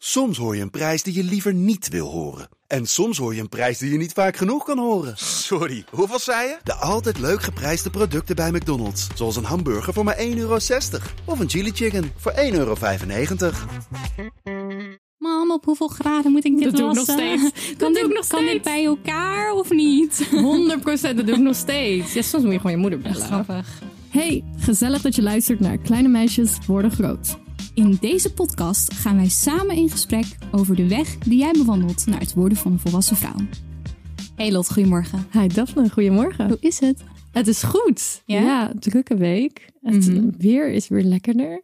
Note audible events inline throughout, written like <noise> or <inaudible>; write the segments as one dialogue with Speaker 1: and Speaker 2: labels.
Speaker 1: Soms hoor je een prijs die je liever niet wil horen. En soms hoor je een prijs die je niet vaak genoeg kan horen.
Speaker 2: Sorry, hoeveel zei je?
Speaker 1: De altijd leuk geprijsde producten bij McDonald's. Zoals een hamburger voor maar 1,60 euro. Of een chili chicken voor 1,95 euro.
Speaker 3: Mam, op hoeveel graden moet ik dit
Speaker 4: Dat doe ik nog
Speaker 3: wassen? <laughs>
Speaker 4: steeds.
Speaker 3: Kan,
Speaker 4: Dat
Speaker 3: dit,
Speaker 4: doe ik nog
Speaker 3: kan dit
Speaker 4: steeds.
Speaker 3: bij elkaar of niet? <laughs>
Speaker 4: 100 dat doe ik nog steeds. Ja, soms moet je gewoon je moeder bellen.
Speaker 3: Grappig.
Speaker 4: Hey, gezellig dat je luistert naar Kleine Meisjes Worden Groot.
Speaker 3: In deze podcast gaan wij samen in gesprek over de weg die jij bewandelt naar het worden van een volwassen vrouw. Hey Lot, goedemorgen.
Speaker 4: Hi Daphne, goedemorgen.
Speaker 3: Hoe is het?
Speaker 4: Het is goed.
Speaker 3: Ja? Mhm.
Speaker 4: drukke week. Het weer is weer lekkerder.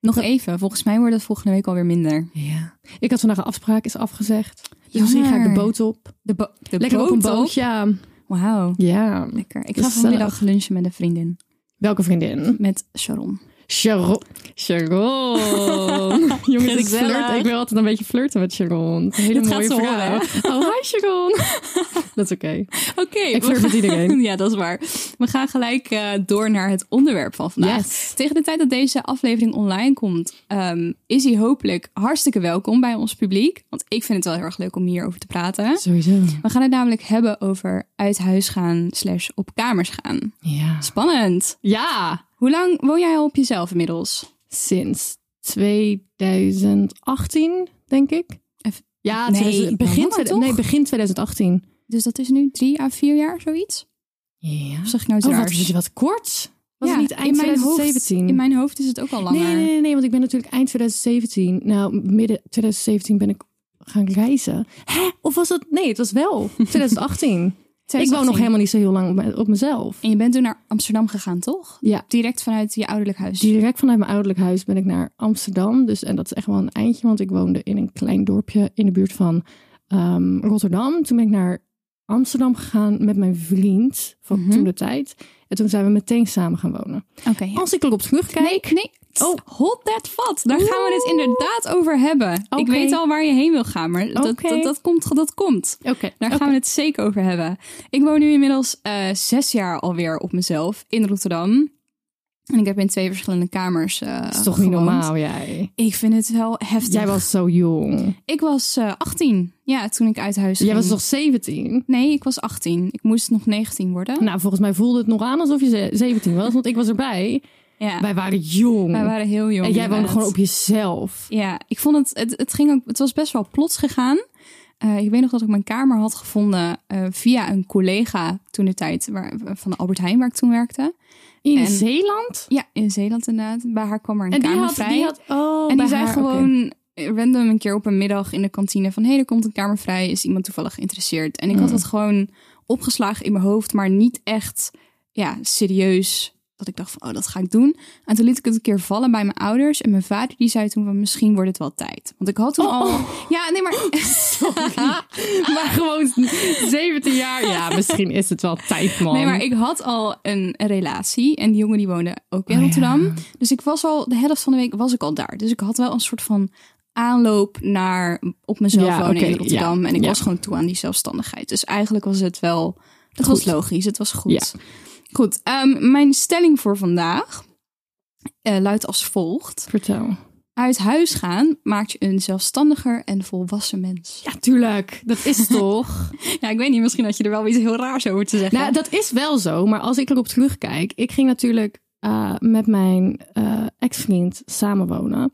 Speaker 3: Nog even, volgens mij wordt het volgende week alweer minder.
Speaker 4: Ja. Ik had vandaag een afspraak, is afgezegd. Dus
Speaker 3: Jammer.
Speaker 4: misschien ga ik de boot op.
Speaker 3: De, bo- de
Speaker 4: Lekker
Speaker 3: boot
Speaker 4: op een boot,
Speaker 3: op?
Speaker 4: ja.
Speaker 3: Wauw,
Speaker 4: Ja.
Speaker 3: lekker. Ik ga
Speaker 4: Gezellig.
Speaker 3: vanmiddag lunchen met een vriendin.
Speaker 4: Welke vriendin?
Speaker 3: Met Sharon.
Speaker 4: Sharon. Sharon. <laughs> Jongens, ik,
Speaker 3: Gezellig.
Speaker 4: flirt. ik wil altijd een beetje flirten met Sharon. Een hele
Speaker 3: Dat gaat
Speaker 4: mooie
Speaker 3: ze
Speaker 4: vrouw. Oh, hi
Speaker 3: <laughs>
Speaker 4: Sharon. Dat is oké.
Speaker 3: Oké.
Speaker 4: Ik flirt met
Speaker 3: <laughs>
Speaker 4: iedereen.
Speaker 3: Ja, dat is waar. We gaan gelijk eh, door naar het onderwerp van vandaag.
Speaker 4: Yes.
Speaker 3: Tegen de tijd dat deze aflevering online komt, ehm, is hij hopelijk hartstikke welkom bij ons publiek. Want ik vind het wel heel erg leuk om hierover te praten.
Speaker 4: Sowieso.
Speaker 3: We gaan het namelijk hebben over uit huis gaan slash op kamers gaan.
Speaker 4: Ja.
Speaker 3: Spannend.
Speaker 4: Ja.
Speaker 3: Hoe lang woon jij al op jezelf inmiddels?
Speaker 4: sinds 2018, denk ik.
Speaker 3: Even-
Speaker 4: Ja,
Speaker 3: Nee,
Speaker 4: 2000 begin,
Speaker 3: langer,
Speaker 4: tweede-
Speaker 3: toch?
Speaker 4: nee, begin 2018.
Speaker 3: Dus dat is nu drie à vier jaar, zoiets?
Speaker 4: Ja.
Speaker 3: Of zeg ik nou iets
Speaker 4: Oh, wat,
Speaker 3: raars?
Speaker 4: wat, wat kort. Was
Speaker 3: Ja,
Speaker 4: het niet eind
Speaker 3: in mijn Hoofd,
Speaker 4: 2017?
Speaker 3: in mijn hoofd is het ook al langer.
Speaker 4: nee, nee, nee, nee, want ik ben natuurlijk eind 2017. Nou, midden 2017 ben ik gaan reizen. Hè? Of was dat? Nee, het was <laughs> wel 2018. ik woon nog
Speaker 3: 2018.
Speaker 4: helemaal niet zo heel lang op, me- op mezelf.
Speaker 3: En je bent toen naar Amsterdam gegaan, toch?
Speaker 4: Ja.
Speaker 3: Direct vanuit je ouderlijk huis.
Speaker 4: Dus Direct vanuit mijn ouderlijk huis ben ik naar Amsterdam. Dus, en dat is echt wel een eindje, want ik woonde in een klein dorpje in de buurt van ehm, Rotterdam. Toen ben ik naar Amsterdam gegaan met mijn vriend van
Speaker 3: Mhm.
Speaker 4: toen de tijd. En toen zijn we meteen samen gaan wonen.
Speaker 3: Oké. ja.
Speaker 4: Als ik erop terugkijk,
Speaker 3: Nee, nee.
Speaker 4: Oh.
Speaker 3: Hold that vat. Daar gaan we het inderdaad over hebben. Ik
Speaker 4: Oké.
Speaker 3: weet al waar je heen wil gaan, maar dat,
Speaker 4: Oké.
Speaker 3: dat, dat komt. Dat komt.
Speaker 4: oké,
Speaker 3: Daar gaan we het zeker over hebben. Ik woon nu inmiddels eh, zes jaar alweer op mezelf in Rotterdam. En ik heb in twee verschillende kamers eh
Speaker 4: dat is toch niet
Speaker 3: gewoond.
Speaker 4: normaal jij.
Speaker 3: Ik vind het wel heftig.
Speaker 4: Jij was zo jong.
Speaker 3: Ik was eh 18, ja, toen ik uit huis
Speaker 4: Jij
Speaker 3: ging.
Speaker 4: was toch 17?
Speaker 3: Nee, ik was 18. Ik moest nog 19 worden.
Speaker 4: Nou, volgens mij voelde het nog aan alsof je ze- 17 was, want ik was erbij.
Speaker 3: Ja,
Speaker 4: Wij waren jong.
Speaker 3: wij waren heel jong.
Speaker 4: en jij woonde
Speaker 3: inderdaad.
Speaker 4: gewoon op jezelf.
Speaker 3: Ja, ik vond het, het, het, ging ook, het was best wel plots gegaan. Eh, ik weet nog dat ik mijn kamer had gevonden eh, via een collega toen de tijd waar, van de Albert Heijn, waar ik toen werkte.
Speaker 4: In
Speaker 3: En-
Speaker 4: Zeeland?
Speaker 3: Ja, in Zeeland inderdaad. Bij haar kwam er een
Speaker 4: En die
Speaker 3: kamer
Speaker 4: had,
Speaker 3: vrij.
Speaker 4: die had, oh,
Speaker 3: en
Speaker 4: bij
Speaker 3: die zei
Speaker 4: haar, oké.
Speaker 3: gewoon random een keer op een middag in de kantine van... hé, hey, er komt een kamer vrij, is iemand toevallig geïnteresseerd? En ik
Speaker 4: Mm.
Speaker 3: had dat gewoon opgeslagen in mijn hoofd, maar niet echt ja, serieus... Dat ik dacht van, oh, dat ga ik doen. En toen liet ik het een keer vallen bij mijn ouders. En mijn vader die zei toen van, misschien wordt het wel tijd. Want ik had toen
Speaker 4: Oh.
Speaker 3: al... Ja, nee, maar...
Speaker 4: <laughs> maar gewoon 17 jaar. <laughs> Ja, misschien is het wel tijd, man.
Speaker 3: Nee, maar ik had al een relatie en die jongen die woonde ook in
Speaker 4: Oh, ja.
Speaker 3: Rotterdam. Dus ik was al de helft van de week was ik al daar. Dus ik had wel een soort van aanloop naar op mezelf
Speaker 4: Ja,
Speaker 3: wonen
Speaker 4: oké,
Speaker 3: in Rotterdam.
Speaker 4: ja,
Speaker 3: en ik
Speaker 4: ja.
Speaker 3: was gewoon toe aan die zelfstandigheid. Dus eigenlijk was het wel, dat was logisch, het was goed.
Speaker 4: Ja.
Speaker 3: Goed, ehm, mijn stelling voor vandaag eh, luidt als volgt.
Speaker 4: Vertel.
Speaker 3: Uit huis gaan maakt je een zelfstandiger en volwassen mens.
Speaker 4: Ja, tuurlijk. Dat is <laughs> toch?
Speaker 3: Ja, ik weet niet, misschien had je er wel iets heel raars over te zeggen.
Speaker 4: nou, dat is wel zo. Maar als ik erop terugkijk. Ik ging natuurlijk eh, met mijn eh, ex-vriend samenwonen.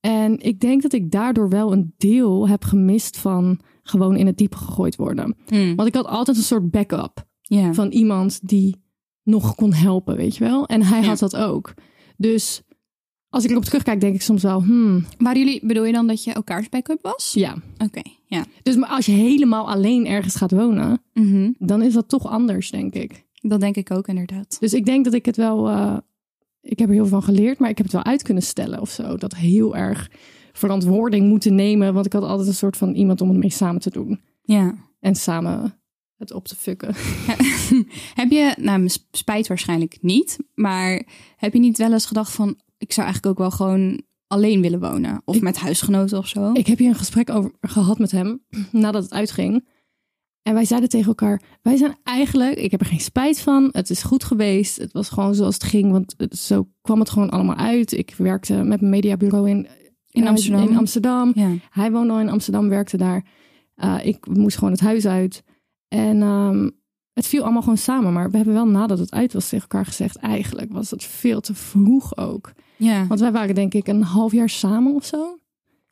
Speaker 4: En ik denk dat ik daardoor wel een deel heb gemist van gewoon in het diepe gegooid worden.
Speaker 3: Hmm,
Speaker 4: Want ik had altijd een soort backup.
Speaker 3: ja.
Speaker 4: van iemand die nog kon helpen, weet je wel. En hij
Speaker 3: Ja.
Speaker 4: had dat ook. Dus als ik erop terugkijk, denk ik soms wel, hmm,
Speaker 3: Waren jullie, bedoel je dan dat je elkaars backup was?
Speaker 4: ja.
Speaker 3: Oké, ja.
Speaker 4: Dus maar als je helemaal alleen ergens gaat wonen,
Speaker 3: Mhm.
Speaker 4: dan is dat toch anders, denk ik.
Speaker 3: Dat denk ik ook inderdaad.
Speaker 4: Dus ik denk dat ik het wel, eh, ik heb er heel veel van geleerd, maar ik heb het wel uit kunnen stellen of zo. Dat heel erg verantwoording moeten nemen, want ik had altijd een soort van iemand om het mee samen te doen.
Speaker 3: Ja.
Speaker 4: En samen het op te fucken.
Speaker 3: <laughs> heb je, nou, mis- spijt waarschijnlijk niet, maar heb je niet wel eens gedacht van, ik zou eigenlijk ook wel gewoon alleen willen wonen. Of met huisgenoten of zo.
Speaker 4: Ik heb hier een gesprek over gehad met hem <clears throat> nadat het uitging. En wij zeiden tegen elkaar: Wij zijn eigenlijk, ik heb er geen spijt van. Het is goed geweest. Het was gewoon zoals het ging. Want het- zo kwam het gewoon allemaal uit. Ik werkte met een mediabureau in,
Speaker 3: in Amsterdam.
Speaker 4: in Amsterdam.
Speaker 3: Ja.
Speaker 4: Hij woonde al in Amsterdam, werkte daar. Uh, ik moest gewoon het huis uit. En ehm, het viel allemaal gewoon samen. Maar we hebben wel nadat het uit was tegen elkaar gezegd... eigenlijk was het veel te vroeg ook.
Speaker 3: ja.
Speaker 4: Want wij waren denk ik een half jaar samen of zo.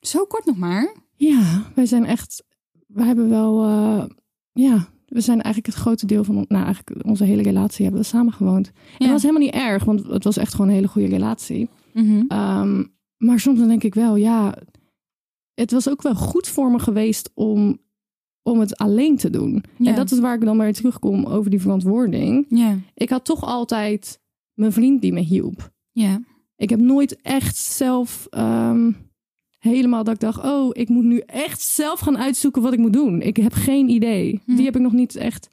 Speaker 3: Zo kort nog maar.
Speaker 4: Ja, wij zijn echt... We hebben wel... eh, ja, we zijn eigenlijk het grote deel van... on- Nou, eigenlijk onze hele relatie hebben we samen gewoond. En
Speaker 3: Ja.
Speaker 4: dat was helemaal niet erg, want het was echt gewoon een hele goede relatie.
Speaker 3: Mhm.
Speaker 4: Ehm, maar soms dan denk ik wel, ja, het was ook wel goed voor me geweest om, om het alleen te doen.
Speaker 3: Ja.
Speaker 4: En dat is waar ik dan weer terugkom over die verantwoording.
Speaker 3: Ja.
Speaker 4: Ik had toch altijd mijn vriend die me hielp.
Speaker 3: Ja.
Speaker 4: Ik heb nooit echt zelf ehm, helemaal dat ik dacht, oh, ik moet nu echt zelf gaan uitzoeken wat ik moet doen. Ik heb geen idee.
Speaker 3: Hm.
Speaker 4: Die heb ik nog niet echt.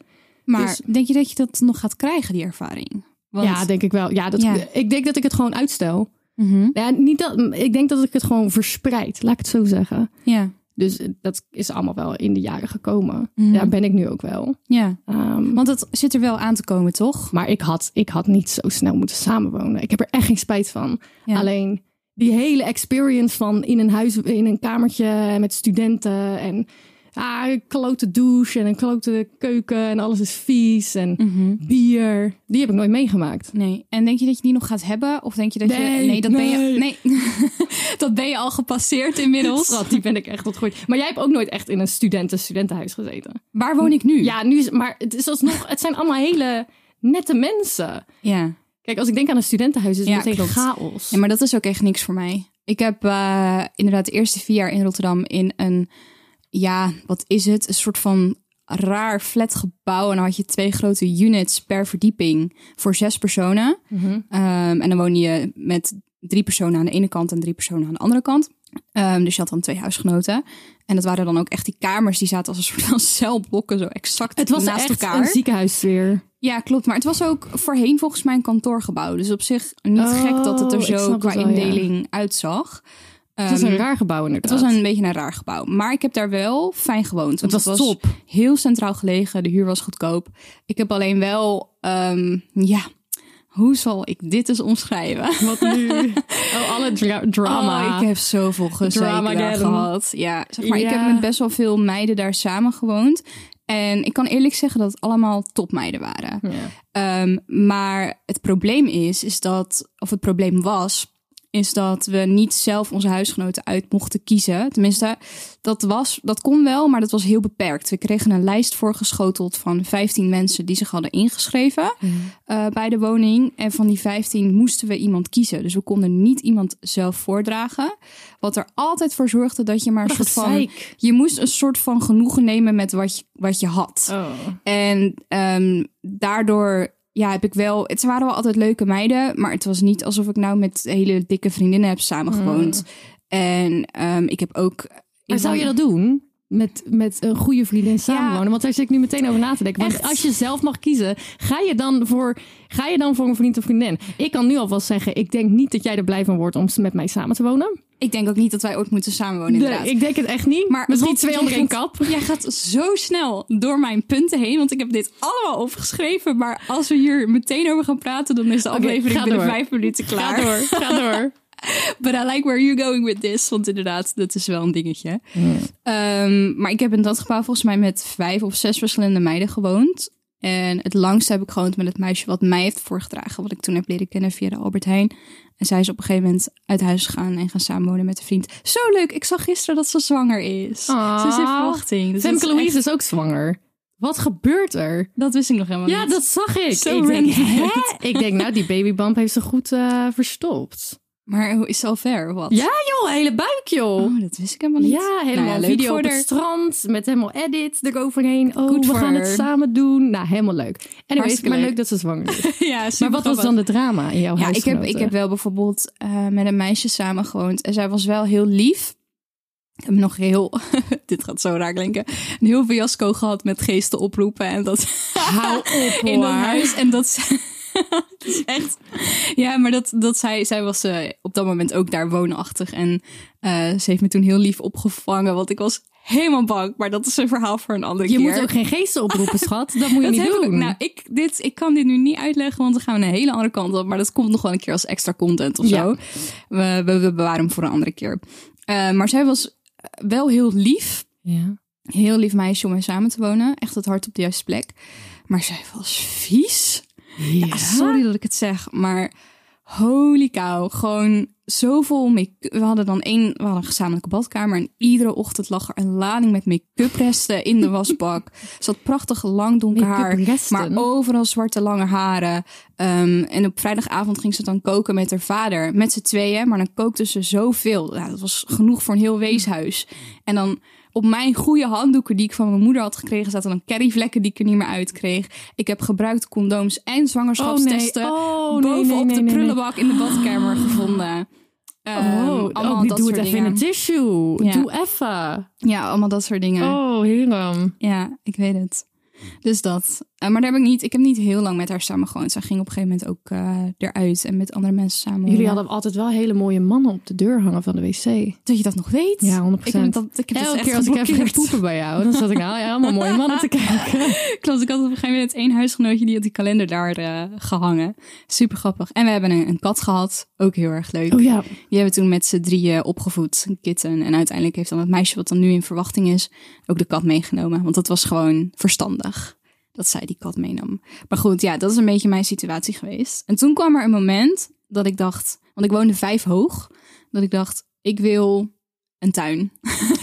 Speaker 3: Maar
Speaker 4: Dus-
Speaker 3: denk je dat je dat nog gaat krijgen, die ervaring? Want,
Speaker 4: Ja, denk ik wel. Ja, dat,
Speaker 3: Ja.
Speaker 4: ik denk dat ik het gewoon uitstel.
Speaker 3: Mhm.
Speaker 4: Ja, niet dat, ik denk dat ik het gewoon verspreid, laat ik het zo zeggen.
Speaker 3: ja.
Speaker 4: Dus eh, dat is allemaal wel in de jaren gekomen.
Speaker 3: Mhm.
Speaker 4: Daar ben ik nu ook wel.
Speaker 3: ja.
Speaker 4: Ehm,
Speaker 3: Want het zit er wel aan te komen, toch?
Speaker 4: maar ik had, ik had niet zo snel moeten samenwonen. Ik heb er echt geen spijt van.
Speaker 3: Ja.
Speaker 4: Alleen die hele experience van in een huis, in een kamertje met studenten en ah, een klote douche en een klote keuken en alles is vies en
Speaker 3: Mhm.
Speaker 4: bier. Die heb ik nooit meegemaakt.
Speaker 3: Nee. En denk je dat je die nog gaat hebben? Of denk je dat
Speaker 4: Nee,
Speaker 3: je... Nee, dat ben je...
Speaker 4: nee.
Speaker 3: Nee. <laughs> dat ben je al gepasseerd inmiddels.
Speaker 4: Schat, Oh, die ben ik echt wat goed. Maar jij hebt ook nooit echt in een studenten-studentenhuis gezeten.
Speaker 3: Waar woon ik nu?
Speaker 4: Ja, nu is, maar het is alsnog, het zijn allemaal hele nette mensen.
Speaker 3: Ja.
Speaker 4: Kijk, als ik denk aan een studentenhuis, is het
Speaker 3: Ja,
Speaker 4: meteen
Speaker 3: klopt.
Speaker 4: chaos.
Speaker 3: Ja, maar dat is ook echt niks voor mij. Ik heb eh, inderdaad de eerste vier jaar in Rotterdam in een, ja, wat is het? Een soort van raar flatgebouw. En dan had je twee grote units per verdieping voor zes personen.
Speaker 4: Mhm.
Speaker 3: Ehm, en dan woon je met drie personen aan de ene kant en drie personen aan de andere kant. Ehm, dus je had dan twee huisgenoten. En dat waren dan ook echt die kamers die zaten als een soort van <laughs> celblokken, zo exact
Speaker 4: het was
Speaker 3: naast
Speaker 4: echt
Speaker 3: elkaar.
Speaker 4: een ziekenhuissfeer.
Speaker 3: Ja, klopt. Maar het was ook voorheen volgens mij een kantoorgebouw. Dus op zich niet
Speaker 4: Oh,
Speaker 3: gek dat het er
Speaker 4: ik snap
Speaker 3: zo
Speaker 4: het
Speaker 3: qua
Speaker 4: wel, ja.
Speaker 3: indeling uitzag.
Speaker 4: Het was
Speaker 3: Ehm,
Speaker 4: een raar gebouw
Speaker 3: het
Speaker 4: inderdaad.
Speaker 3: was een beetje een raar gebouw. Maar ik heb daar wel fijn gewoond. want
Speaker 4: was top.
Speaker 3: heel centraal gelegen. De huur was goedkoop. Ik heb alleen wel... ehm, ja, hoe zal ik dit eens omschrijven?
Speaker 4: Wat
Speaker 3: <laughs>
Speaker 4: nu? Oh, alle dra- drama.
Speaker 3: Oh, ik heb zoveel gezeik daar
Speaker 4: Dramageddon.
Speaker 3: gehad. Ja, zeg maar, ik
Speaker 4: Ja.
Speaker 3: heb met best wel veel meiden daar samen gewoond. En ik kan eerlijk zeggen dat het allemaal topmeiden waren.
Speaker 4: Ja.
Speaker 3: Ehm, maar het probleem is, is dat, of het probleem was, is dat we niet zelf onze huisgenoten uit mochten kiezen. Tenminste, dat, was, dat kon wel, maar dat was heel beperkt. We kregen een lijst voorgeschoteld van 15 mensen die zich hadden ingeschreven eh, bij de woning. En van die 15 moesten we iemand kiezen. Dus we konden niet iemand zelf voordragen. Wat er altijd voor zorgde dat je maar een
Speaker 4: Wat
Speaker 3: soort van.
Speaker 4: gezeik.
Speaker 3: Je moest een soort van genoegen nemen met wat je, wat je had.
Speaker 4: Oh.
Speaker 3: En ehm, daardoor ja, heb ik wel... Het waren wel altijd leuke meiden. Maar het was niet alsof ik nou met hele dikke vriendinnen heb samengewoond. En ehm, ik heb ook...
Speaker 4: Hmm. Maar
Speaker 3: ik
Speaker 4: zou
Speaker 3: woon-
Speaker 4: je dat doen? Met, met een goede vriendin samenwonen?
Speaker 3: Ja.
Speaker 4: Want daar zit ik nu meteen over na te denken. Want
Speaker 3: Echt?
Speaker 4: als je zelf mag kiezen, ga je, dan voor, ga je dan voor een vriend of vriendin? Ik kan nu alvast zeggen, ik denk niet dat jij er blij van wordt om met mij samen te wonen.
Speaker 3: Ik denk ook niet dat wij ooit moeten samenwonen,
Speaker 4: Nee,
Speaker 3: inderdaad.
Speaker 4: ik denk het echt niet.
Speaker 3: maar
Speaker 4: Misschien
Speaker 3: Rot,
Speaker 4: twee
Speaker 3: jij
Speaker 4: onder één
Speaker 3: gaat-
Speaker 4: kap.
Speaker 3: Jij gaat zo snel door mijn punten heen. Want ik heb dit allemaal opgeschreven. Maar als we hier meteen over gaan praten... dan is de aflevering
Speaker 4: ga
Speaker 3: binnen
Speaker 4: door.
Speaker 3: vijf minuten klaar.
Speaker 4: Ga door, ga <laughs> door.
Speaker 3: But I like where you're going with this. Want inderdaad, dat is wel een dingetje. Ehm, maar ik heb in dat gebouw volgens mij met vijf of zes verschillende meiden gewoond. En het langst heb ik gewoond met het meisje wat mij heeft voorgedragen. Wat ik toen heb leren kennen via de Albert Heijn. En zij is op een gegeven moment uit huis gegaan en gaan samenwonen met een vriend. Zo leuk! Ik zag gisteren dat ze zwanger is.
Speaker 4: Ah.
Speaker 3: Ze is in verwachting. Dus dat
Speaker 4: Femke
Speaker 3: is
Speaker 4: Louise
Speaker 3: echt-
Speaker 4: is ook zwanger. Wat gebeurt er?
Speaker 3: Dat wist ik nog helemaal
Speaker 4: Ja,
Speaker 3: niet.
Speaker 4: dat zag ik.
Speaker 3: Zo
Speaker 4: ik, denk,
Speaker 3: random.
Speaker 4: <laughs> hè? ik denk, nou, die babybump heeft ze goed eh, verstopt.
Speaker 3: Maar hoe is ze al ver? Wat?
Speaker 4: Ja, joh, hele buik, joh.
Speaker 3: Oh, dat wist ik helemaal niet.
Speaker 4: Ja, helemaal
Speaker 3: Nou ja, leuk
Speaker 4: video
Speaker 3: voor
Speaker 4: op het
Speaker 3: haar.
Speaker 4: strand met helemaal edit eroverheen. Oh,
Speaker 3: Goed
Speaker 4: we
Speaker 3: voor
Speaker 4: gaan het
Speaker 3: haar.
Speaker 4: samen doen. Nou, helemaal leuk. En maar
Speaker 3: Hartstikke leuk.
Speaker 4: leuk dat ze
Speaker 3: <laughs>
Speaker 4: zwanger
Speaker 3: <laughs>
Speaker 4: is.
Speaker 3: ja
Speaker 4: maar wat was
Speaker 3: supergrappig.
Speaker 4: dan de drama in jouw
Speaker 3: Ja, ik
Speaker 4: huisgenoten?
Speaker 3: heb, ik
Speaker 4: <laughs>
Speaker 3: heb wel bijvoorbeeld eh, met een meisje samengewoond. En zij was wel heel lief. Ik heb nog heel, <laughs> dit gaat zo raar klinken, een heel fiasco gehad met geesten oproepen en dat <laughs>
Speaker 4: Hou op,
Speaker 3: in dat
Speaker 4: hoor.
Speaker 3: huis. En dat, ze- <laughs> Echt? Ja, maar dat, dat zij, zij was eh, op dat moment ook daar woonachtig. En eh, ze heeft me toen heel lief opgevangen, want ik was helemaal bang. Maar dat is een verhaal voor een andere
Speaker 4: Je
Speaker 3: keer.
Speaker 4: moet ook geen
Speaker 3: <laughs>
Speaker 4: geesten oproepen, schat. Dat moet je
Speaker 3: dat
Speaker 4: niet
Speaker 3: heb ik ook-
Speaker 4: doen.
Speaker 3: nou, ik, dit, ik kan dit nu niet uitleggen, want dan gaan we een hele andere kant op. Maar dat komt nog wel een keer als extra content of
Speaker 4: Ja.
Speaker 3: zo. We, we, we bewaren hem voor een andere keer. Eh, maar zij was eh, wel heel lief.
Speaker 4: ja. Oh,
Speaker 3: Heel lief meisje om mee samen te wonen. Echt het hart op de juiste plek. Maar zij was vies. Ja, sorry dat ik het zeg, maar holy cow. Gewoon zoveel make-up. We hadden dan één, we hadden een gezamenlijke badkamer. En iedere ochtend lag er een lading met make-up resten in de
Speaker 4: <laughs>
Speaker 3: wasbak. Ze had prachtig lang donker haar.
Speaker 4: Make-up resten?
Speaker 3: Maar overal zwarte lange haren. Ehm, en op vrijdagavond ging ze dan koken met haar vader. Met z'n tweeën, maar dan kookte ze zoveel. Ja, dat was genoeg voor een heel weeshuis. En dan op mijn goede handdoeken die ik van mijn moeder had gekregen... zaten dan kerryvlekken die ik er niet meer uit kreeg. Ik heb gebruikt condooms en zwangerschapstesten...
Speaker 4: Oh, nee,
Speaker 3: bovenop
Speaker 4: nee, nee,
Speaker 3: de
Speaker 4: nee, nee.
Speaker 3: prullenbak in de
Speaker 4: <gasps>
Speaker 3: badkamer gevonden. Ehm,
Speaker 4: Oh,
Speaker 3: allemaal
Speaker 4: ook die
Speaker 3: dat
Speaker 4: doe
Speaker 3: soort
Speaker 4: het even in
Speaker 3: dingen.
Speaker 4: een tissue.
Speaker 3: Ja.
Speaker 4: Doe even.
Speaker 3: Ja, allemaal dat soort dingen.
Speaker 4: Oh, hierom.
Speaker 3: Ja, ik weet het. Dus dat. Eh, maar daar heb ik niet, ik heb niet heel lang met haar samen gewoond. Zij ging op een gegeven moment ook eh, eruit en met andere mensen samen.
Speaker 4: Jullie
Speaker 3: wonen.
Speaker 4: hadden altijd wel hele mooie mannen op de deur hangen van de wc.
Speaker 3: dat je dat nog weet?
Speaker 4: Ja, 100%.
Speaker 3: Ik heb dat, ik heb dat
Speaker 4: Elke
Speaker 3: echt
Speaker 4: keer als ik even ging
Speaker 3: geblokkeerd.
Speaker 4: poepen bij jou, dan zat ik nou ja, allemaal mooie <laughs> mannen te kijken.
Speaker 3: Klopt, <laughs> ik had op een gegeven moment één huisgenootje die had die kalender daar eh, gehangen. Super grappig. En we hebben een, een kat gehad. Ook heel erg leuk.
Speaker 4: Oh ja,
Speaker 3: Die hebben we toen met z'n drieën opgevoed, een kitten. En uiteindelijk heeft dan het meisje wat dan nu in verwachting is, ook de kat meegenomen. Want dat was gewoon verstandig dat zij die kat meenam. Maar goed, ja, dat is een beetje mijn situatie geweest. En toen kwam er een moment dat ik dacht, want ik woonde vijf hoog, dat ik dacht, ik wil een tuin.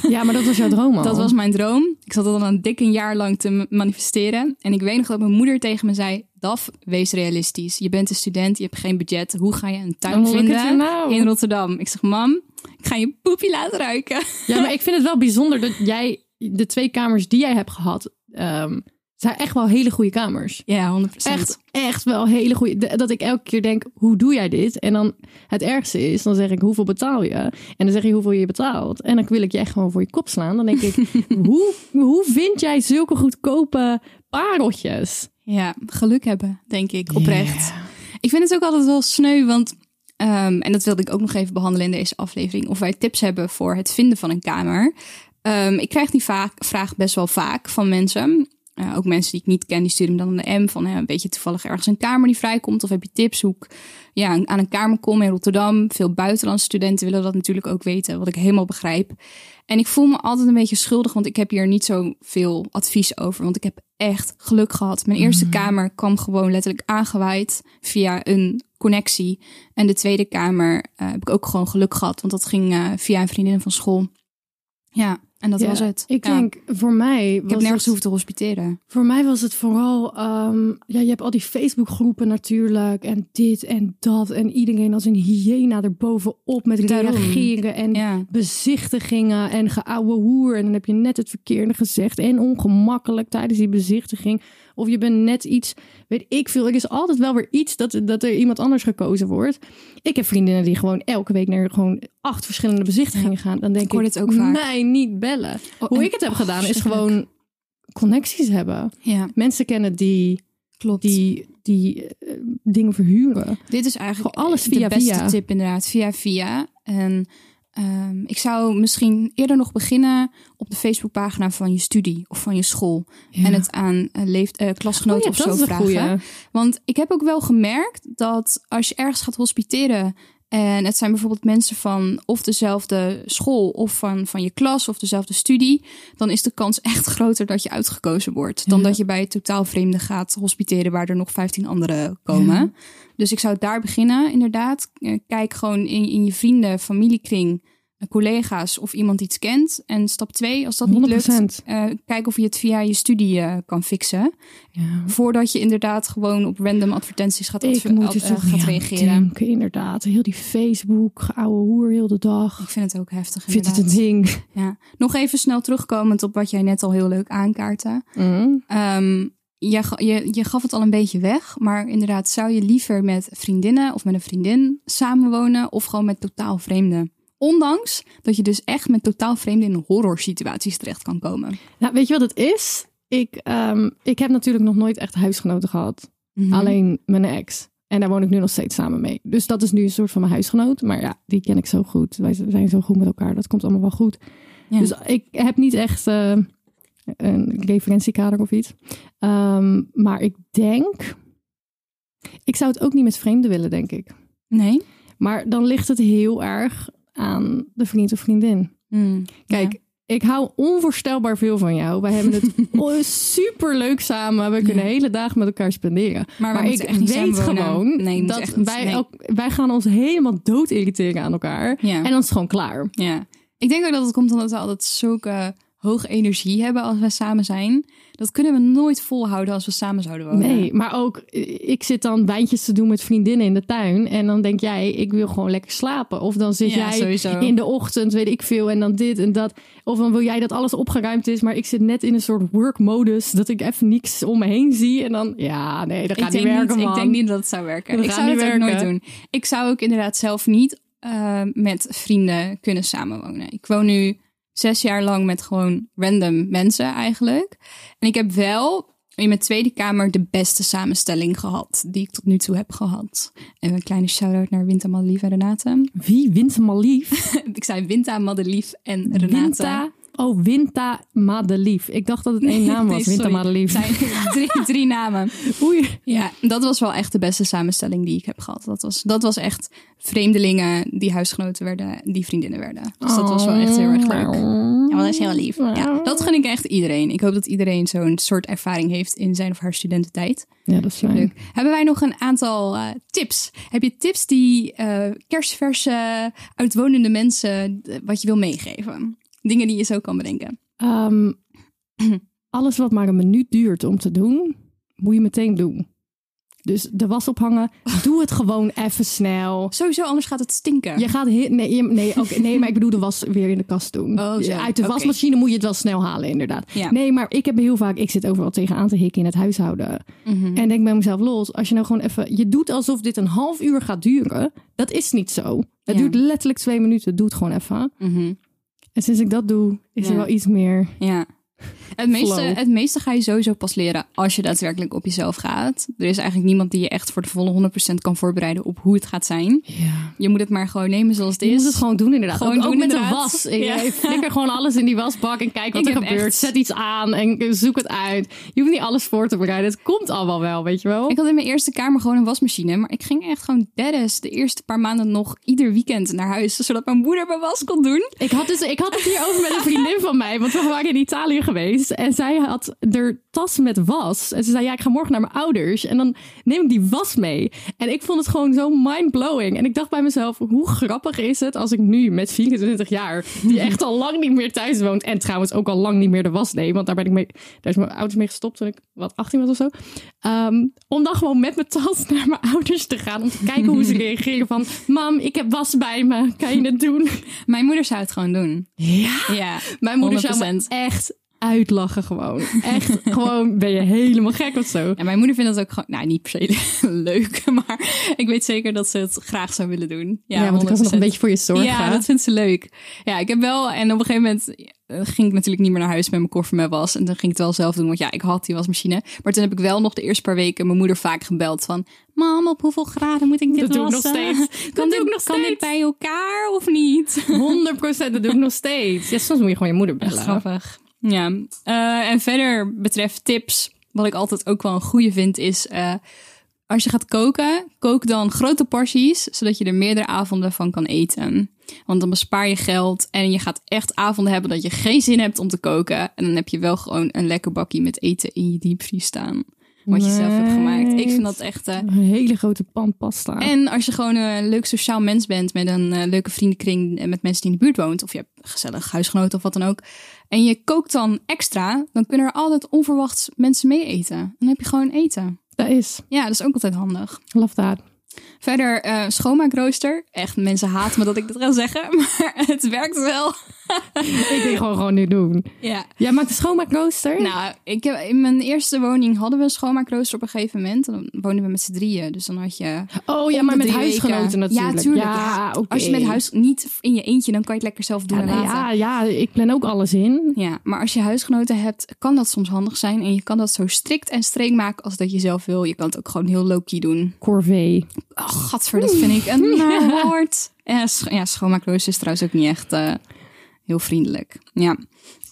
Speaker 4: ja, maar dat was jouw droom al.
Speaker 3: Dat was mijn droom. Ik zat al een dikke jaar lang te m- manifesteren. En ik weet nog dat mijn moeder tegen me zei... Daf, wees realistisch. Je bent een student, je hebt geen budget. Hoe ga je een tuin
Speaker 4: Oh, look at you
Speaker 3: vinden
Speaker 4: now.
Speaker 3: in Rotterdam? Ik zeg, mam, ik ga je poepie laten ruiken.
Speaker 4: Ja, maar ik vind het wel bijzonder dat jij de twee kamers die jij hebt gehad, ehm, zijn echt wel hele goede kamers.
Speaker 3: Ja, 100%.
Speaker 4: Echt, echt wel hele goede. de- Dat ik elke keer denk, hoe doe jij dit? En dan het ergste is, dan zeg ik, hoeveel betaal je? En dan zeg je hoeveel je betaalt. En dan wil ik je echt gewoon voor je kop slaan. Dan denk <laughs> ik, hoe, hoe vind jij zulke goedkope pareltjes?
Speaker 3: Ja, geluk hebben, denk ik, oprecht. Ik vind het ook altijd wel sneu, want... ehm, en dat wilde ik ook nog even behandelen in deze aflevering. Of wij tips hebben voor het vinden van een kamer. Ehm, ik krijg die vaak, vraag best wel vaak van mensen. Eh, ook mensen die ik niet ken, die sturen me dan een DM van... hè, weet je toevallig ergens een kamer die vrijkomt? Of heb je tips hoe ik ja, een- aan een kamer kom in Rotterdam? Veel buitenlandse studenten willen dat natuurlijk ook weten, wat ik helemaal begrijp. En ik voel me altijd een beetje schuldig, want ik heb hier niet zoveel advies over. Want ik heb echt geluk gehad. Mijn eerste
Speaker 4: Mhm.
Speaker 3: kamer kwam gewoon letterlijk aangewaaid via een connectie. En de tweede kamer eh, heb ik ook gewoon geluk gehad, want dat ging eh, via een vriendin van school. Ja, en dat
Speaker 4: Ja,
Speaker 3: was het.
Speaker 4: Ik
Speaker 3: Ja.
Speaker 4: denk, voor mij.
Speaker 3: ik heb nergens hoeven te hospiteren.
Speaker 4: Voor mij was het vooral, ehm, ja, je hebt al die Facebookgroepen natuurlijk en dit en dat en iedereen als een hyena erbovenop met
Speaker 3: Daarom.
Speaker 4: reageren en
Speaker 3: Ja.
Speaker 4: bezichtigingen en geouwe hoer en dan heb je net het verkeerde gezegd en ongemakkelijk tijdens die bezichtiging of je bent net iets, weet ik veel, er is altijd wel weer iets dat, dat er iemand anders gekozen wordt. Ik heb vriendinnen die gewoon elke week naar gewoon acht verschillende bezichtigingen gaan, dan denk ik,
Speaker 3: hoor dit ook vaak.
Speaker 4: mij niet bellen. Hoe
Speaker 3: en-
Speaker 4: ik het heb
Speaker 3: oh,
Speaker 4: gedaan is
Speaker 3: verschrikkelijk.
Speaker 4: gewoon connecties hebben
Speaker 3: Ja,
Speaker 4: mensen kennen die,
Speaker 3: klopt.
Speaker 4: die, die eh, dingen verhuren.
Speaker 3: Dit is eigenlijk
Speaker 4: Gewoon alles
Speaker 3: de
Speaker 4: via
Speaker 3: beste
Speaker 4: via.
Speaker 3: tip inderdaad, via via. En ehm, ik zou misschien eerder nog beginnen op de Facebookpagina van je studie of van je school. En het aan eh, leeft, eh,
Speaker 4: Oh
Speaker 3: klasgenoten
Speaker 4: ja,
Speaker 3: of
Speaker 4: dat
Speaker 3: zo
Speaker 4: is een
Speaker 3: vragen.
Speaker 4: goeie.
Speaker 3: Want ik heb ook wel gemerkt dat als je ergens gaat hospiteren. En het zijn bijvoorbeeld mensen van of dezelfde school of van, van je klas of dezelfde studie. Dan is de kans echt <laughs> groter dat je uitgekozen wordt. Dan dat je bij totaal vreemden gaat hospiteren waar er nog 15 anderen komen. Dus ik zou daar beginnen inderdaad. Eh, Kijk gewoon in, in je vrienden, familiekring, eh, collega's of iemand iets kent. En stap twee, als dat niet lukt,
Speaker 4: 100%.
Speaker 3: eh, kijk of je het via je studie eh, kan fixen.
Speaker 4: Ja.
Speaker 3: Voordat je inderdaad gewoon op random advertenties gaat, adver-
Speaker 4: Ik moet
Speaker 3: ad-
Speaker 4: er
Speaker 3: eh,
Speaker 4: toch
Speaker 3: gaat
Speaker 4: niet aan
Speaker 3: reageren.
Speaker 4: denken, inderdaad. Heel die Facebook, ouwe hoer heel de dag.
Speaker 3: Ik vind het ook heftig
Speaker 4: Ik vind het een
Speaker 3: inderdaad.
Speaker 4: ding.
Speaker 3: Ja. Nog even snel terugkomend op wat jij net al heel leuk aankaartte. Ehm, jij ga- je, je gaf het al een beetje weg, maar inderdaad, zou je liever met vriendinnen of met een vriendin samenwonen of gewoon met totaal vreemden? Ondanks dat je dus echt met totaal vreemden in horror situaties terecht kan komen.
Speaker 4: Nou, weet je wat het is? Ik, ehm, ik heb natuurlijk nog nooit echt huisgenoten gehad.
Speaker 3: Mhm.
Speaker 4: Alleen mijn ex. En daar woon ik nu nog steeds samen mee. Dus dat is nu een soort van mijn huisgenoot. Maar ja, die ken ik zo goed. Wij z- zijn zo goed met elkaar. Dat komt allemaal wel goed.
Speaker 3: Ja.
Speaker 4: Dus ik heb niet echt eh, een referentiekader of iets. Ehm, maar ik denk... Ik zou het ook niet met vreemden willen, denk ik.
Speaker 3: Nee?
Speaker 4: Maar dan ligt het heel erg aan de vriend of vriendin.
Speaker 3: Hmm,
Speaker 4: Kijk,
Speaker 3: ja.
Speaker 4: ik hou onvoorstelbaar veel van jou. Wij hebben
Speaker 3: <laughs>
Speaker 4: het super leuk samen. We kunnen
Speaker 3: Ja.
Speaker 4: hele dagen met elkaar spenderen.
Speaker 3: Maar wij
Speaker 4: ik
Speaker 3: moeten echt niet
Speaker 4: weet
Speaker 3: samenwonen.
Speaker 4: gewoon
Speaker 3: Nee, je moet
Speaker 4: dat
Speaker 3: echt niet-
Speaker 4: wij,
Speaker 3: nee.
Speaker 4: ook, wij gaan ons helemaal dood irriteren aan elkaar.
Speaker 3: Ja. Oh,
Speaker 4: En dan is het gewoon klaar.
Speaker 3: Ja. Ik denk ook dat het komt omdat we altijd zulke hoge energie hebben als we samen zijn. Dat kunnen we nooit volhouden als we samen zouden wonen.
Speaker 4: Nee, maar ook eh, ik zit dan wijntjes te doen met vriendinnen in de tuin. En dan denk jij, ik wil gewoon lekker slapen. Of dan zit
Speaker 3: Ja,
Speaker 4: jij
Speaker 3: sowieso.
Speaker 4: in de ochtend, weet ik veel. En dan dit en dat. Of dan wil jij dat alles opgeruimd is. Maar ik zit net in een soort work-modus. Dat ik even niks om me heen zie. En dan, ja, nee, dat
Speaker 3: ik
Speaker 4: gaat niet
Speaker 3: denk,
Speaker 4: werken,
Speaker 3: niet, ik
Speaker 4: man.
Speaker 3: denk niet dat het zou werken.
Speaker 4: Dat
Speaker 3: ik
Speaker 4: gaat
Speaker 3: zou
Speaker 4: niet
Speaker 3: het ook nooit
Speaker 4: werken.
Speaker 3: doen. Ik zou ook inderdaad zelf niet eh, met vrienden kunnen samenwonen. Ik woon nu zes jaar lang met gewoon random mensen eigenlijk. En ik heb wel in mijn tweede kamer de beste samenstelling gehad die ik tot nu toe heb gehad. En een kleine shout-out naar Winta, Madelief en Renate. <laughs>
Speaker 4: Wie wint maar lief?
Speaker 3: ik zei Winta, Madelief en Renate.
Speaker 4: Winta. Oh, Winta Madelief. Ik dacht dat het één naam
Speaker 3: <laughs>
Speaker 4: was.
Speaker 3: Nee,
Speaker 4: Winta
Speaker 3: sorry.
Speaker 4: Madelief.
Speaker 3: Het
Speaker 4: <laughs>
Speaker 3: zijn drie, drie namen.
Speaker 4: Oei.
Speaker 3: Ja, dat was wel echt de beste samenstelling die ik heb gehad. Dat was, dat was echt vreemdelingen die huisgenoten werden, die vriendinnen werden. Dus dat was wel echt heel erg leuk. Ja, maar dat is heel lief. Ja, dat gun ik echt iedereen. Ik hoop dat iedereen zo'n soort ervaring heeft in zijn of haar studententijd.
Speaker 4: Ja, dat is leuk.
Speaker 3: Leuk. Hebben wij nog een aantal eh, tips? Heb je tips die eh kerstverse, uitwonende mensen, eh, wat je wil meegeven? Dingen die je zo kan bedenken.
Speaker 4: Ehm, <clears throat> alles wat maar een minuut duurt om te doen, moet je meteen doen. Dus de was ophangen, doe het gewoon even snel.
Speaker 3: Sowieso, anders gaat het stinken.
Speaker 4: Je gaat he- nee, je- nee, oké, nee, maar ik bedoel de was weer in de kast doen.
Speaker 3: Oh, zo.
Speaker 4: Uit de
Speaker 3: Oké.
Speaker 4: wasmachine moet je het wel snel halen, inderdaad.
Speaker 3: Ja.
Speaker 4: Nee, maar ik heb heel vaak, ik zit overal tegenaan te hikken in het huishouden.
Speaker 3: Mhm.
Speaker 4: En denk bij mezelf, los, als je nou gewoon even, je doet alsof dit een half uur gaat duren. Dat is niet zo.
Speaker 3: Ja.
Speaker 4: Het duurt letterlijk twee minuten, doe het gewoon even.
Speaker 3: Mhm.
Speaker 4: En sinds ik dat doe, is
Speaker 3: Ja.
Speaker 4: er wel iets meer.
Speaker 3: Ja. Het meeste,
Speaker 4: Flow.
Speaker 3: het meeste ga je sowieso pas leren als je daadwerkelijk op jezelf gaat. Er is eigenlijk niemand die je echt voor de volle 100% kan voorbereiden op hoe het gaat zijn.
Speaker 4: Ja.
Speaker 3: Je moet het maar gewoon nemen zoals het
Speaker 4: Je
Speaker 3: is.
Speaker 4: moet het gewoon doen inderdaad.
Speaker 3: Gewoon
Speaker 4: ook, ook
Speaker 3: doen,
Speaker 4: met een
Speaker 3: inderdaad.
Speaker 4: was. Ik
Speaker 3: Ja.
Speaker 4: ik flikker gewoon alles in die wasbak en kijk wat
Speaker 3: Ik
Speaker 4: er
Speaker 3: heb
Speaker 4: gebeurt.
Speaker 3: echt-
Speaker 4: Zet iets aan en zoek het uit. Je hoeft niet alles voor te bereiden. Het komt allemaal wel, weet je wel.
Speaker 3: Ik had in mijn eerste kamer gewoon een wasmachine. Maar ik ging echt gewoon deadass de eerste paar maanden nog ieder weekend naar huis. Zodat mijn moeder mijn was kon doen.
Speaker 4: Ik had, dus, ik had het hier over met een vriendin van mij, want we waren in Italië geweest. En zij had haar tas met was. En ze zei, ja, ik ga morgen naar mijn ouders. En dan neem ik die was mee. En ik vond het gewoon zo mind-blowing. En ik dacht bij mezelf, hoe grappig is het als ik nu met 24 jaar, die echt al lang niet meer thuis woont. En trouwens ook al lang niet meer de was neem, want daar ben ik mee, daar is mijn ouders mee gestopt toen ik, wat, 18 was of zo. Ehm, om dan gewoon met mijn tas naar mijn ouders te gaan, om te kijken hoe ze reageren van, mam, ik heb was bij me, kan je het doen?
Speaker 3: Mijn moeder zou het gewoon doen.
Speaker 4: Ja.
Speaker 3: Ja,
Speaker 4: Mijn moeder zou
Speaker 3: 100%.
Speaker 4: me echt uitlachen gewoon. Echt gewoon ben je helemaal gek of zo.
Speaker 3: En mijn moeder vindt dat ook gewoon, nou niet per se <laughs> leuk, maar ik weet zeker dat ze het graag zou willen doen. Ja,
Speaker 4: Ja, want ik was nog
Speaker 3: 100%.
Speaker 4: een beetje voor je zorgen.
Speaker 3: Ja, dat vindt ze leuk. Ja, ik heb wel. En op een gegeven moment eh, ging ik natuurlijk niet meer naar huis met mijn koffer met was. En dan ging ik het wel zelf doen, want ja, ik had die wasmachine. Maar toen heb ik wel nog de eerste paar weken mijn moeder vaak gebeld van... Mam, op hoeveel graden moet ik dit
Speaker 4: Dat doe ik nog
Speaker 3: wassen?
Speaker 4: steeds. Dat
Speaker 3: <laughs> Kan,
Speaker 4: doe ik
Speaker 3: dit,
Speaker 4: nog
Speaker 3: kan dit
Speaker 4: steeds.
Speaker 3: bij elkaar of niet?
Speaker 4: 100% dat doe ik nog steeds. Ja, soms moet je gewoon je moeder
Speaker 3: Echt
Speaker 4: bellen.
Speaker 3: grappig. Ja, eh, en verder betreft tips, wat ik altijd ook wel een goede vind, is eh, als je gaat koken, kook dan grote porties, zodat je er meerdere avonden van kan eten. Want dan bespaar je geld en je gaat echt avonden hebben dat je geen zin hebt om te koken. En dan heb je wel gewoon een lekker bakje met eten in je diepvries staan. Wat je zelf hebt gemaakt. Ik vind dat echt... eh,
Speaker 4: Een hele grote pan pasta.
Speaker 3: en als je gewoon een leuk sociaal mens bent met een eh, leuke vriendenkring eh, met mensen die in de buurt woont, of je hebt een gezellig huisgenoten of wat dan ook, en je kookt dan extra, dan kunnen er altijd onverwachts mensen mee eten. Dan heb je gewoon eten.
Speaker 4: Dat is.
Speaker 3: Ja, dat is ook altijd handig.
Speaker 4: Love that.
Speaker 3: <laughs> Verder, eh schoonmaakrooster. Echt, mensen haten me dat ik dat ga zeggen, maar het werkt wel.
Speaker 4: ik denk gewoon, gewoon niet doen.
Speaker 3: Ja.
Speaker 4: Jij maakt een schoonmaakrooster?
Speaker 3: Nou, ik heb, in mijn eerste woning hadden we een schoonmaakrooster op een gegeven moment. En Dan woonden we met z'n drieën. Dus dan had je...
Speaker 4: oh ja,
Speaker 3: om
Speaker 4: maar
Speaker 3: de
Speaker 4: met
Speaker 3: drie
Speaker 4: huisgenoten
Speaker 3: weken-
Speaker 4: natuurlijk.
Speaker 3: Ja, tuurlijk.
Speaker 4: Ja, oké.
Speaker 3: Als je met huis niet in je eentje, dan kan je het lekker zelf doen
Speaker 4: Ja,
Speaker 3: en
Speaker 4: nou
Speaker 3: laten.
Speaker 4: ja, ja, ik plan ook alles in.
Speaker 3: Ja, maar als je huisgenoten hebt, kan dat soms handig zijn. En je kan dat zo strikt en streng maken als dat je zelf wil. Je kan het ook gewoon heel low-key doen.
Speaker 4: Corvée.
Speaker 3: Oh, gadver, dat vind ik een naar woord. Ja, scho ja schoonmaakloos is trouwens ook niet echt eh, heel vriendelijk. Ja.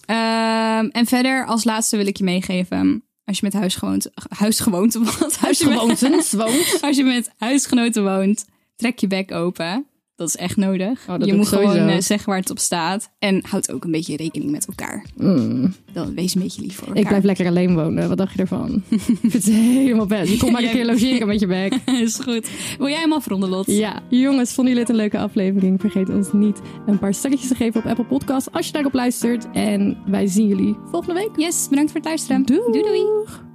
Speaker 3: Ehm, en verder, als laatste wil ik je meegeven... Als je met huisgewoonte... Huisgewoonte, wat? <laughs> Als je met-
Speaker 4: Huisgewoontens, woont.
Speaker 3: <laughs> als je met huisgenoten woont, trek je bek open. Dat is echt nodig.
Speaker 4: Oh, dat
Speaker 3: je
Speaker 4: doe
Speaker 3: moet
Speaker 4: ik sowieso.
Speaker 3: gewoon eh, zeggen waar het op staat. En houd ook een beetje rekening met elkaar.
Speaker 4: Mm.
Speaker 3: Dan wees een beetje lief voor elkaar.
Speaker 4: Ik blijf lekker alleen wonen. Wat dacht je <laughs> ervan? ik vind het helemaal best. Je komt maar een
Speaker 3: Jij-
Speaker 4: <laughs> keer logeren met je bek.
Speaker 3: <laughs> is goed. Wil jij hem afronden, Lot?
Speaker 4: Ja, jongens, vonden jullie dit een leuke aflevering? Vergeet ons niet een paar sterretjes te geven op Apple Podcasts als je daarop luistert. En wij zien jullie volgende week.
Speaker 3: Yes, bedankt voor het luisteren.
Speaker 4: Doei.
Speaker 3: doei. doei.